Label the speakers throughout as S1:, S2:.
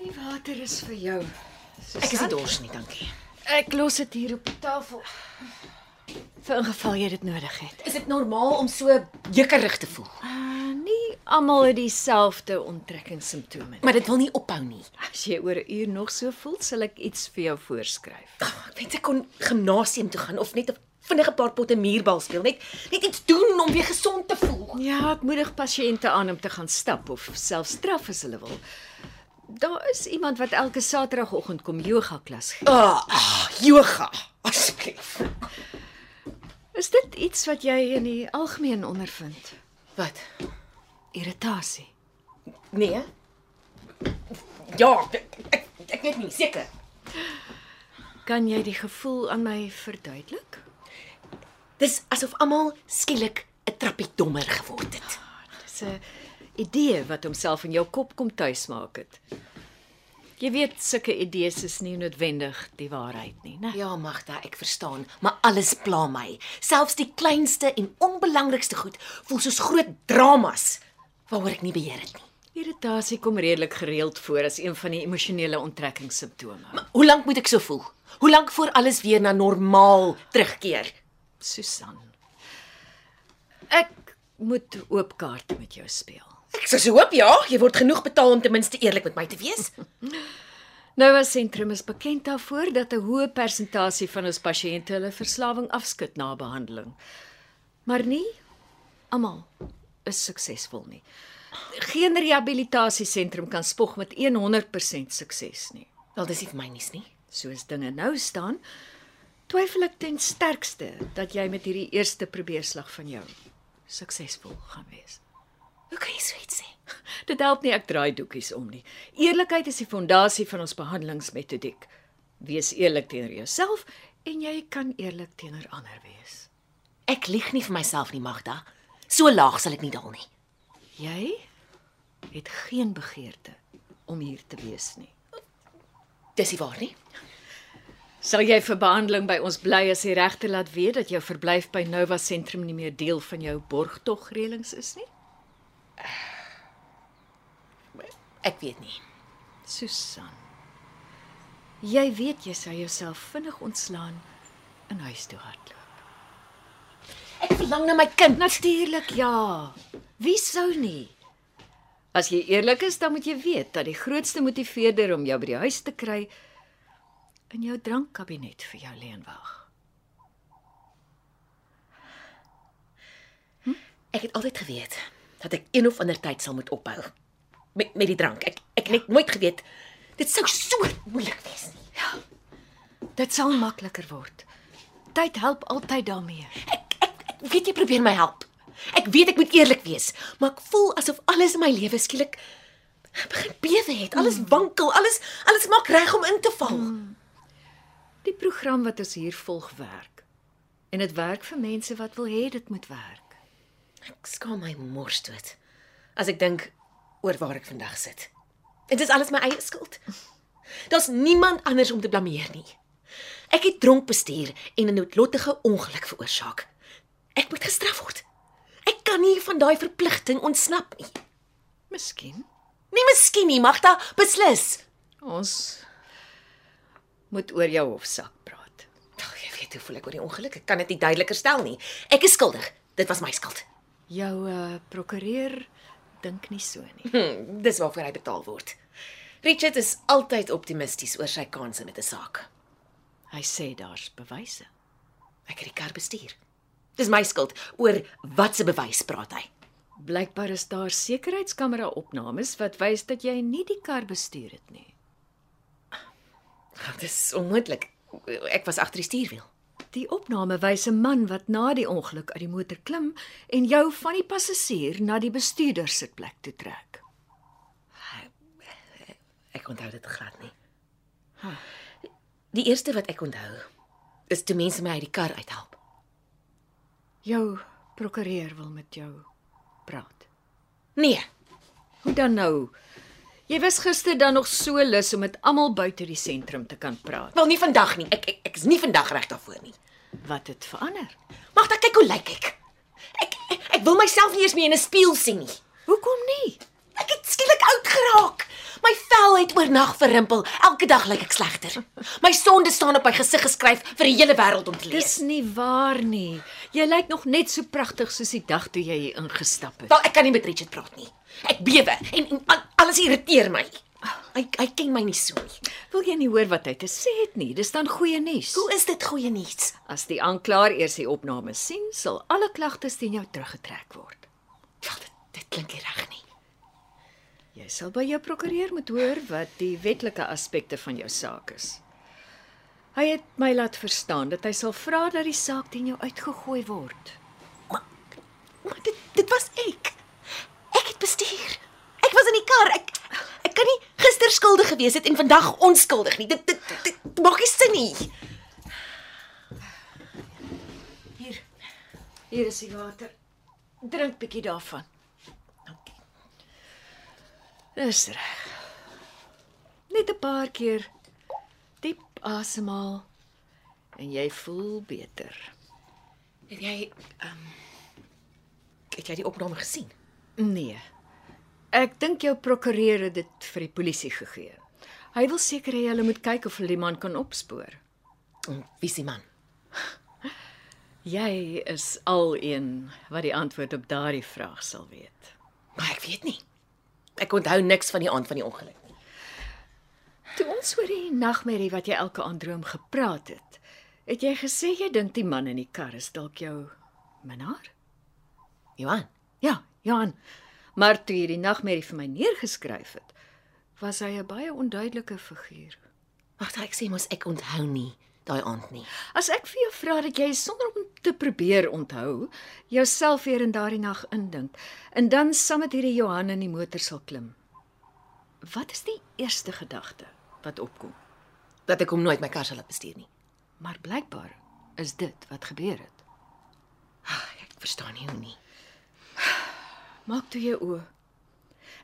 S1: Die water is vir jou.
S2: Ek is nie dors nie, dankie.
S1: Ek los dit hier op die tafel. Vir ingeval jy dit nodig het.
S2: Is dit normaal om so jekkerig te voel?
S1: Uh, nie almal het dieselfde onttrekkingssimptome nie.
S2: Maar dit wil nie ophou nie.
S1: As jy oor 'n uur nog so voel, sal ek iets vir jou voorskryf.
S2: Ag, ek wens ek kon gimnasium toe gaan of net 'n vinnige paar potte muurbal speel, net net iets doen om weer gesond te voel.
S1: Ja, ek moedig pasiënte aan om te gaan stap of selfs straf as hulle wil. Daar is iemand wat elke Saterdagoggend kom yoga klas gee.
S2: Ah, ah yoga. Asseblief.
S1: Is dit iets wat jy in die algemeen ondervind?
S2: Wat?
S1: Irritasie.
S2: Nee. Ja, ek ek, ek weet nie seker.
S1: Kan jy die gevoel aan my verduidelik?
S2: Dis asof almal skielik 'n trappie dommer geword het.
S1: Dis 'n idee wat homself in jou kop kom tuismaak het. Jy weet sulke idees is nie noodwendig die waarheid nie, né?
S2: Ja, Magda, ek verstaan, maar alles pla my. Selfs die kleinste en onbelangrikste goed voel soos groot dramas waaroor ek nie beheer het nie.
S1: Irritasie kom redelik gereeld voor as een van die emosionele onttrekkingssimptome.
S2: Maar hoe lank moet ek so voel? Hoe lank voor alles weer na normaal terugkeer?
S1: Susan. Ek moet oop kaart met jou speel.
S2: Ek sou so hoop ja, jy word genoeg betaal om ten minste eerlik met my te wees.
S1: Noua Nou sentrum is bekend daarvoor dat 'n hoë persentasie van ons pasiënte hulle verslawing afskud na behandeling. Maar nie almal is suksesvol nie. Geen rehabilitasiesentrum kan spog met 100% sukses nie.
S2: Wel, dis nie vir my nuus nie.
S1: Soos dinge nou staan, twyfel ek ten sterkste dat jy met hierdie eerste probeerslag van jou suksesvol gaan wees.
S2: Hoe kan jy so iets sê?
S1: Dit help nie ek draai doekies om nie. Eerlikheid is die fondasie van ons behandelingsmetodiek. Wees eerlik teenoor jouself en jy kan eerlik teenoor ander wees.
S2: Ek lieg nie vir myself nie, Magda. So laag sal ek nie daal nie.
S1: Jy het geen begeerte om hier te wees nie.
S2: Dis nie waar nie.
S1: Sal jy vir behandeling by ons bly as die regter laat weet dat jou verblyf by Nova Sentrum nie meer deel van jou borgtogreëlings is nie?
S2: Ek weet nie.
S1: Susan. Jy weet jy sou jouself vinnig ontslaan en huis toe hardloop.
S2: Ek verlang na my kind.
S1: Natuurlik ja. Wie sou nie? As jy eerlik is, dan moet jy weet dat die grootste motiveerder om jou by die huis te kry in jou drankkabinet vir jou leen wag.
S2: Ek het altyd geweet dat ek een of ander tyd sal moet ophou met met die drank. Ek ek het net nooit geweet dit sou so moeilik wees nie.
S1: Dit sal makliker word. Tyd help altyd daarmee.
S2: Ek ek, ek weet jy probeer my help. Ek weet ek moet eerlik wees, maar ek voel asof alles in my lewe skielik begin bewe het. Alles wankel, alles alles maak reg om in te val.
S1: Die program wat ons hier volg werk. En dit werk vir mense wat wil hê dit moet werk.
S2: Ek skaam my mors dood as ek dink oor waar ek vandag sit. En dit is alles my eie skuld. Daar's niemand anders om te blameer nie. Ek het dronk bestuur en 'n noodlottige ongeluk veroorsaak. Ek moet gestraf word. Ek kan nie van daai verpligting ontsnap nie.
S1: Miskien
S2: Nee, miskien nie, Magda, beslis.
S1: ons moet oor jou hofsaak praat.
S2: Ag, jy weet hoe voel ek oor die ongeluk. Ek kan dit nie duideliker stel nie. Ek is skuldig. Dit was my skuld.
S1: Jou uh, prokureur dink nie so nie.
S2: Hm, dis waarvoor hy betaal word. Richard is altyd optimisties oor sy kansse met 'n saak.
S1: Hy sê daar's bewyse.
S2: Ek het die kar bestuur. Dis my skuld. Oor watse bewys praat hy?
S1: Blykbaar is daar sekuriteitskamera-opnames wat wys dat jy nie die kar bestuur het nie.
S2: Ag, Dis onmoontlik. Ek was agter die stuurwiel.
S1: Die opname wys 'n man wat na die ongeluk uit die motor klim en jou van die passasier na die bestuurder sitplek toe trek.
S2: Ek onthou dit glad nie. Die eerste wat ek onthou is toe mense my uit die kar uithelp.
S1: Jou prokureur wil met jou praat.
S2: Nee,
S1: Hoe dan nou? Jy was gister dan nog so lus om met almal buite die sentrum te kan praat.
S2: wel nie vandag nie. Ek ek, ek is nie vandag reg daarvoor nie.
S1: Wat het verander?
S2: Magda, kyk hoe lyk ek. Ek ek, ek wil myself nie eens meer in 'n spieël sien nie.
S1: Hoekom nie?
S2: Ek het skielik oud geraak. My vel het oornag verrimpel. Elke dag lyk ek slegter. My sonde staan op my gesig geskryf vir die hele wêreld om te lees.
S1: Dis nie waar nie. Jy lyk nog net so pragtig soos die dag toe jy hier ingestap het.
S2: Wel, ek kan nie met Richard praat nie. Ek bewe en, en al- alles irriteer my. Hy hy ken my nie so nie.
S1: Wil jy nie hoor wat hy te sê het nie? Dis dan goeie nuus.
S2: Hoe is dit goeie nuus?
S1: As die aanklaer eers die opname sien, sal alle klagtes teen jou teruggetrek word.
S2: Wel, dit, dit klink nie reg nie.
S1: Jy sal by jou prokureur moet hoor wat die wetlike aspekte van jou saak is. Hy het my laat verstaan dat hy sal vra dat die saak teen jou uitgegooi word.
S2: Maar, maar dit dit was ek. Ek het bestuur. Ek was in die kar. Ek ek kan nie gister skuldig gewees het en vandag onskuldig nie. Dit dit, dit, dit maak nie sin nie.
S1: Hier. Hier is die water. Drink bietjie daarvan.
S2: Dankie.
S1: Dis reg. Net 'n paar keer diep asemhaal en jy voel beter.
S2: Het jy ehm um, het jy die opname gesien?
S1: Nee. Ek dink jou prokureur het dit vir die polisie gegee. Hy wil seker hê hulle moet kyk of hulle die man kan opspoor.
S2: Wie is die man?
S1: Jy is al een wat die antwoord op daardie vraag sal weet.
S2: Maar ek weet nie. Ek onthou niks van die aand van die ongeluk nie.
S1: Toe ons oor die nagmerrie wat jy elke aand droom gepraat het, het jy gesê jy dink die man in die kar is dalk jou minnaar?
S2: Johan,
S1: Ja, Johan. Maar toe jy die nagmerrie vir my neergeskryf het, was hy 'n baie onduidelike figuur.
S2: wag, ek sê mos ek onthou nie daai aand nie.
S1: As ek vir jou vra dat jy sonder om te probeer onthou, jouself weer in daardie nag indink en dan saam met hierdie Johan in die motor sal klim. Wat is die eerste gedagte wat opkom?
S2: Dat ek hom nooit my kar sal laat bestuur nie.
S1: Maar blykbaar is dit wat gebeur het.
S2: Ag, ek verstaan nie hoe nie.
S1: Maak toe jou oë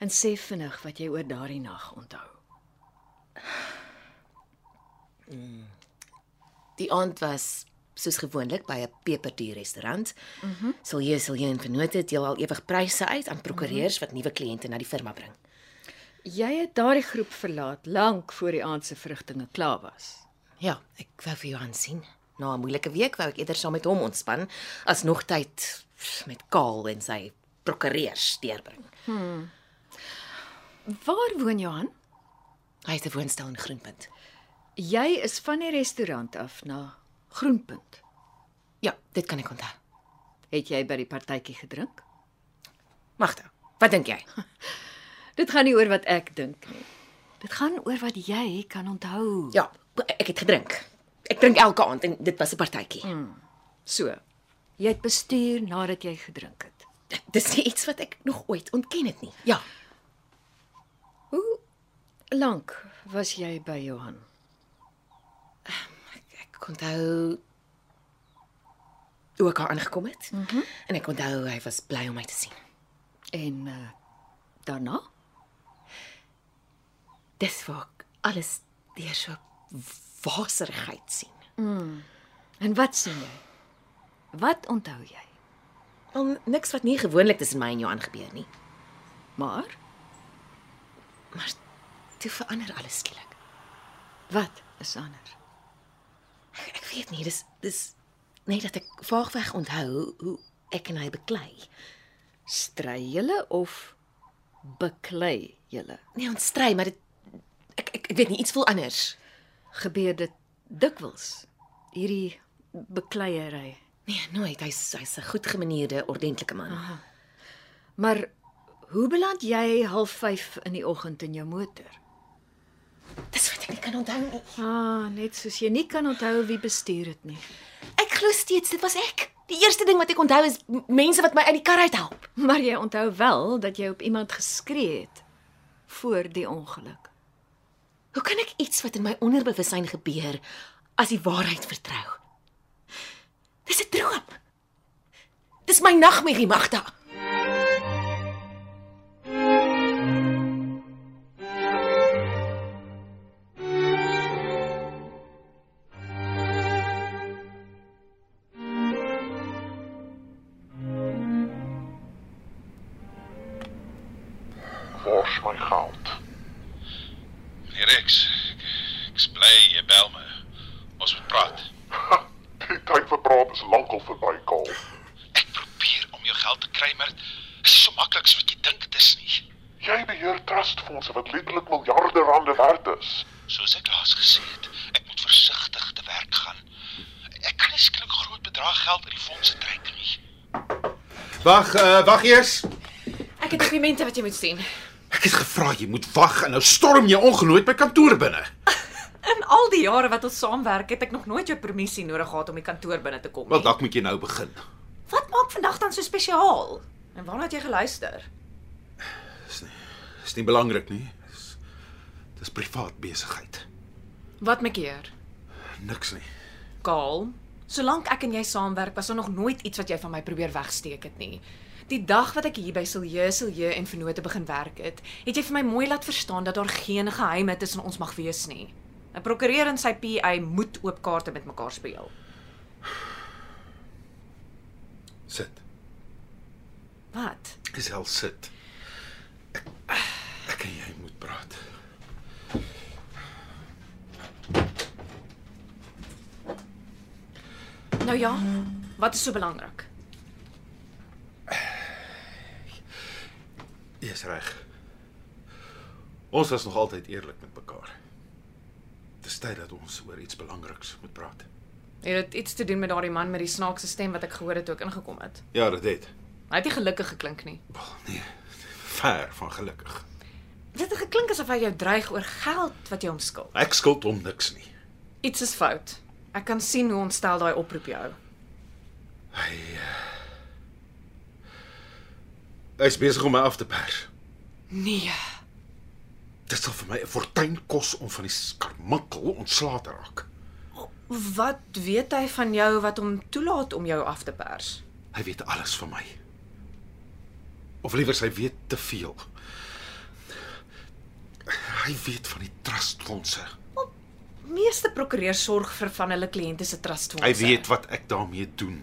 S1: en sê vinnig wat jy oor daardie nag onthou.
S2: Die aand was soos gewoonlik by 'n peperduur restaurant. Mhm. Mm sal jy sal jy en vennote deel al ewig pryse uit aan prokureurs mm -hmm. wat nuwe kliënte na die firma bring.
S1: Jy het daardie groep verlaat lank voor die aand se vrugtinge klaar was.
S2: Ja, ek wou vir Johan sien. Na 'n moeilike week wou ek eerder saam met hom ontspan as nog tyd met Kaal en sy prokureurs deurbring.
S1: Waar woon Johan?
S2: Hy het 'n woonstel in Groenpunt.
S1: Jy is van die restaurant af na Groenpunt.
S2: Ja, dit kan ek onthou.
S1: Het jy by die partytjie gedrink?
S2: Magda, wat dink jy?
S1: Dit gaan nie oor wat ek dink nie. Dit gaan oor wat jy kan onthou.
S2: Ja, ek het gedrink. Ek drink elke aand en dit was 'n partytjie. Mm.
S1: So. Jy het bestuur nadat jy gedrink het.
S2: Dis nie iets wat ek nog ooit ontken het nie. Ja,
S1: Hoe lank was jy by Johan?
S2: ek, ek onthou hoe ek haar aangekom het. Mm -hmm. En ek onthou hy was bly om my te sien.
S1: En uh, daarna?
S2: Dis waar ek alles deur so waserigheid sien.
S1: En wat sien jy? Wat onthou jy?
S2: Al niks wat nie gewoonlik tussen my en Johan gebeur nie.
S1: Maar
S2: Maar toe verander alles skielik.
S1: wat is anders?
S2: Ek, ek weet nie, dis dis net dat ek vaagweg onthou hoe ek en hy beklei.
S1: Stry julle of beklei julle?
S2: Nee, ons stry, maar dit ek ek, ek weet nie iets veel anders.
S1: Gebeur dit dikwels? Hierdie bekleierery.
S2: Nee, nooit. Hy's hy's 'n goed gemanierde, ordentlike man. Ah.
S1: Maar hoe beland jy 05:30 in die oggend in jou motor?
S2: Dis wat ek nie kan onthou nie.
S1: Ah, net soos jy nie kan onthou wie bestuur dit nie.
S2: Ek glo steeds dit was ek. Die eerste ding wat ek onthou is m- mense wat my uit die kar uithelp.
S1: Maar jy onthou wel dat jy op iemand geskree het voor die ongeluk.
S3: Hoe kan ek iets wat in my onderbewussyn gebeur as die waarheid vertrou? Dis 'n droom. Dis my nagmerrie, Magda.
S4: Waar's my geld?
S5: Nee, Rex. Ek, ek is bly jy bel my. Ons moet praat.
S4: Die tyd vir praat is lankal verby, Kaal.
S5: Ek probeer om jou geld te kry, maar dit is nie so maklik soos wat jy dink dit is nie.
S4: Jy beheer trustfondse wat letterlik miljarde rande werd is.
S5: Soos ek laas gesê het, ek moet versigtig te werk gaan. Ek kan nie skielik groot bedrag geld uit die fondse trek nie.
S6: Wag, uh, wag eers.
S3: Ek het dokumente wat jy moet sien.
S6: Ek het gevra jy moet wag en nou storm jy ongenoot by kantoor binne.
S2: In al die jare wat ons saamwerk, het ek nog nooit jou permissie nodig gehad om die kantoor binne te kom nie.
S6: Wel, dalk moet jy nou begin.
S2: Wat maak vandag dan so spesiaal? En waarna het jy geluister?
S6: Dis nie belangrik nie. Dis dis privaat besigheid.
S2: Wat my keer?
S6: Niks nie.
S2: Kaal, solank ek en jy saamwerk, was daar nog nooit iets wat jy van my probeer wegsteek het nie. Die dag wat ek hier by Silje, Silje en Vennote begin werk het, het jy vir my mooi laat verstaan dat daar geen geheime tussen ons mag wees nie. 'n Prokureur en sy PA moet oop kaarte met mekaar speel.
S6: Sit.
S2: Wat?
S6: Gesel sit. Ek, ek en jy moet praat.
S2: Nou ja, wat is so belangrik?
S6: Jy's reg. Ons was nog altyd eerlik met mekaar. Dis tyd dat ons oor iets belangriks moet praat.
S2: Het dit iets te doen met daardie man met die snaakse stem wat ek gehoor het toe ek ingekom het?
S6: Ja, dit het.
S2: Hy het nie gelukkig geklink nie.
S6: Wel, nee. Ver van gelukkig.
S2: Dit het geklink asof hy jou dreig oor geld wat jy hom skuld.
S6: Ek skuld hom niks nie.
S2: Iets is fout. Ek kan sien hoe ontstel daai oproep jou.
S6: Hy uh, Hy's besig om my af te pers.
S2: Nee.
S6: Dit sal vir my 'n fortuin kos om van die skarminkel ontslae te raak.
S2: Wat weet hy van jou wat hom toelaat om jou af te pers?
S6: Hy weet alles van my. Of liewer hy weet te veel. Hy weet van die trustfondse.
S2: Meeste prokureurs sorg vir van hulle kliënte se trustfondse.
S6: Hy weet wat ek daarmee doen.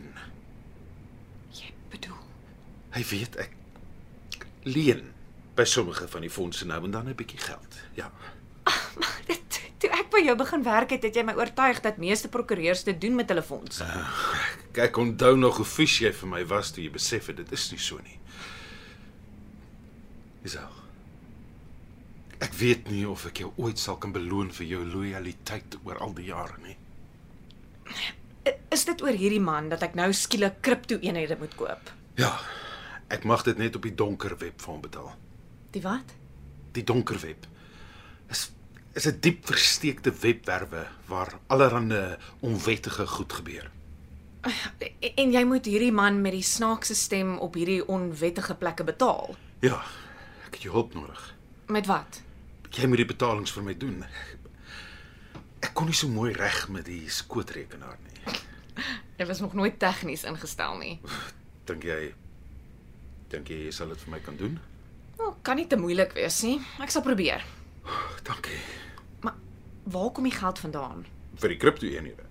S2: jy bedoel.
S6: Hy weet ek leen by sommige van die fondse nou en dan 'n bietjie geld. Ja.
S2: Dit toe ek by jou begin werk het, het jy my oortuig dat meeste prokureurs dit doen met hulle fondse.
S6: Kyk, onthou nog hoe vies jy vir my was toe jy besef het dit is nie so nie. Isou. Ek weet nie of ek jou ooit sal kan beloon vir jou lojaliteit oor al die jare nie.
S2: I- Is dit oor hierdie man dat ek nou skielik kripto-eenhede moet koop?
S6: Ja. Ek mag dit net op die donker web vir hom betaal.
S2: Die wat?
S6: Die donker web is is 'n diep versteekte webwerwe waar allerlei onwettige goed gebeur.
S2: En, Eh, en jy moet hierdie man met die snaakse stem op hierdie onwettige plekke betaal.
S6: Ja, ek het jou hulp nodig.
S2: Met wat?
S6: Jy moet die betalings vir my doen. Ek kon nie so mooi reg met die skootrekenaar nie.
S2: Jy was nog nooit tegnies ingestel nie.
S6: Dink jy dink jy jy sal dit vir my kan doen?
S2: Nou, kan nie te moeilik wees nie. Ek sal probeer.
S6: Dankie
S2: Maar waar kom die geld vandaan?
S6: vir die kripto eenhede.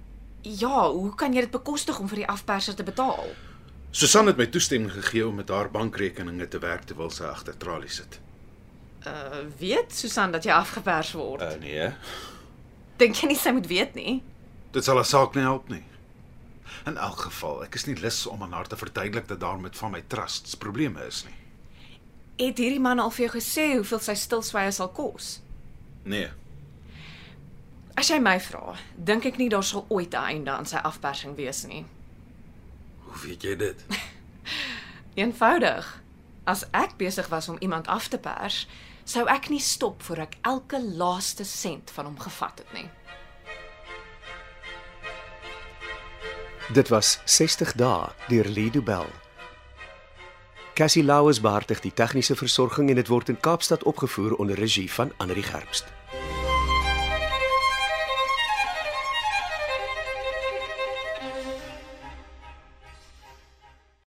S2: Ja, hoe kan jy dit bekostig om vir die afperser te betaal?
S6: Susan het my toestemming gegee om met haar bankrekeninge te werk terwyl sy agter tralies sit.
S2: Uh, weet Susan dat jy afgepers word. Uh.
S6: nee.
S2: Dink jy nie sy moet weet nie?
S6: Dit sal haar saak nie help nie. In elk geval, ek is nie lus om aan haar te verduidelik dat daar met van my trusts probleme is nie.
S2: Het hierdie man al vir jou gesê hoeveel sy stilswye sal kos?
S6: Nee.
S2: As jy my vra, dink ek nie daar sal ooit 'n einde aan sy afpersing wees nie.
S6: Hoe weet jy dit?
S2: Eenvoudig. As ek besig was om iemand af te pers, sou ek nie stop voor ek elke laaste sent van hom gevat het nie.
S7: Dit was 60 dae deur Lido Bell. Cassie Lauers beheer die tegniese versorging en dit word in Kaapstad opgevoer onder regie van Anri Gerbst.